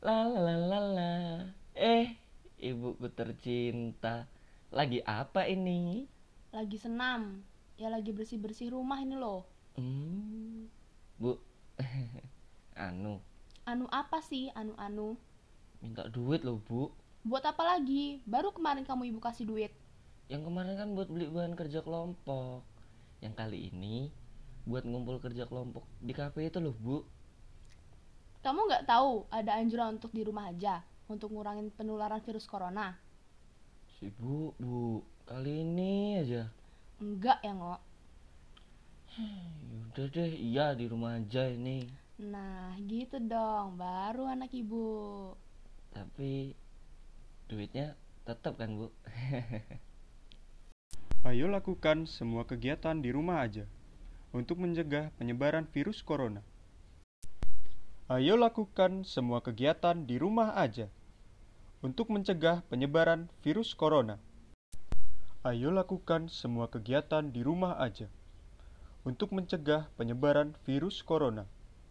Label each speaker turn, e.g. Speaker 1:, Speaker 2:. Speaker 1: La la la la la. Eh, ibuku tercinta. Lagi apa ini?
Speaker 2: Lagi senam. Ya lagi bersih-bersih rumah ini loh.
Speaker 1: Hmm, bu, anu,
Speaker 2: Anu apa sih anu-anu?
Speaker 1: minta duit loh bu.
Speaker 2: Buat apa lagi? Baru kemarin kamu ibu kasih duit.
Speaker 1: Yang kemarin kan buat beli bahan kerja kelompok. Yang kali ini buat ngumpul kerja kelompok di kafe itu loh bu.
Speaker 2: Kamu nggak tahu ada anjuran untuk di rumah aja untuk ngurangin penularan virus corona?
Speaker 1: Si bu, bu, kali ini aja.
Speaker 2: Enggak ya, Ngo.
Speaker 1: Yaudah deh, iya di rumah aja ini.
Speaker 2: Nah, gitu dong. Baru anak ibu.
Speaker 1: Tapi duitnya tetap kan bu.
Speaker 3: Ayo lakukan semua kegiatan di rumah aja untuk mencegah penyebaran virus corona. Ayo lakukan semua kegiatan di rumah aja untuk mencegah penyebaran virus corona. Ayo lakukan semua kegiatan di rumah aja untuk mencegah penyebaran virus corona.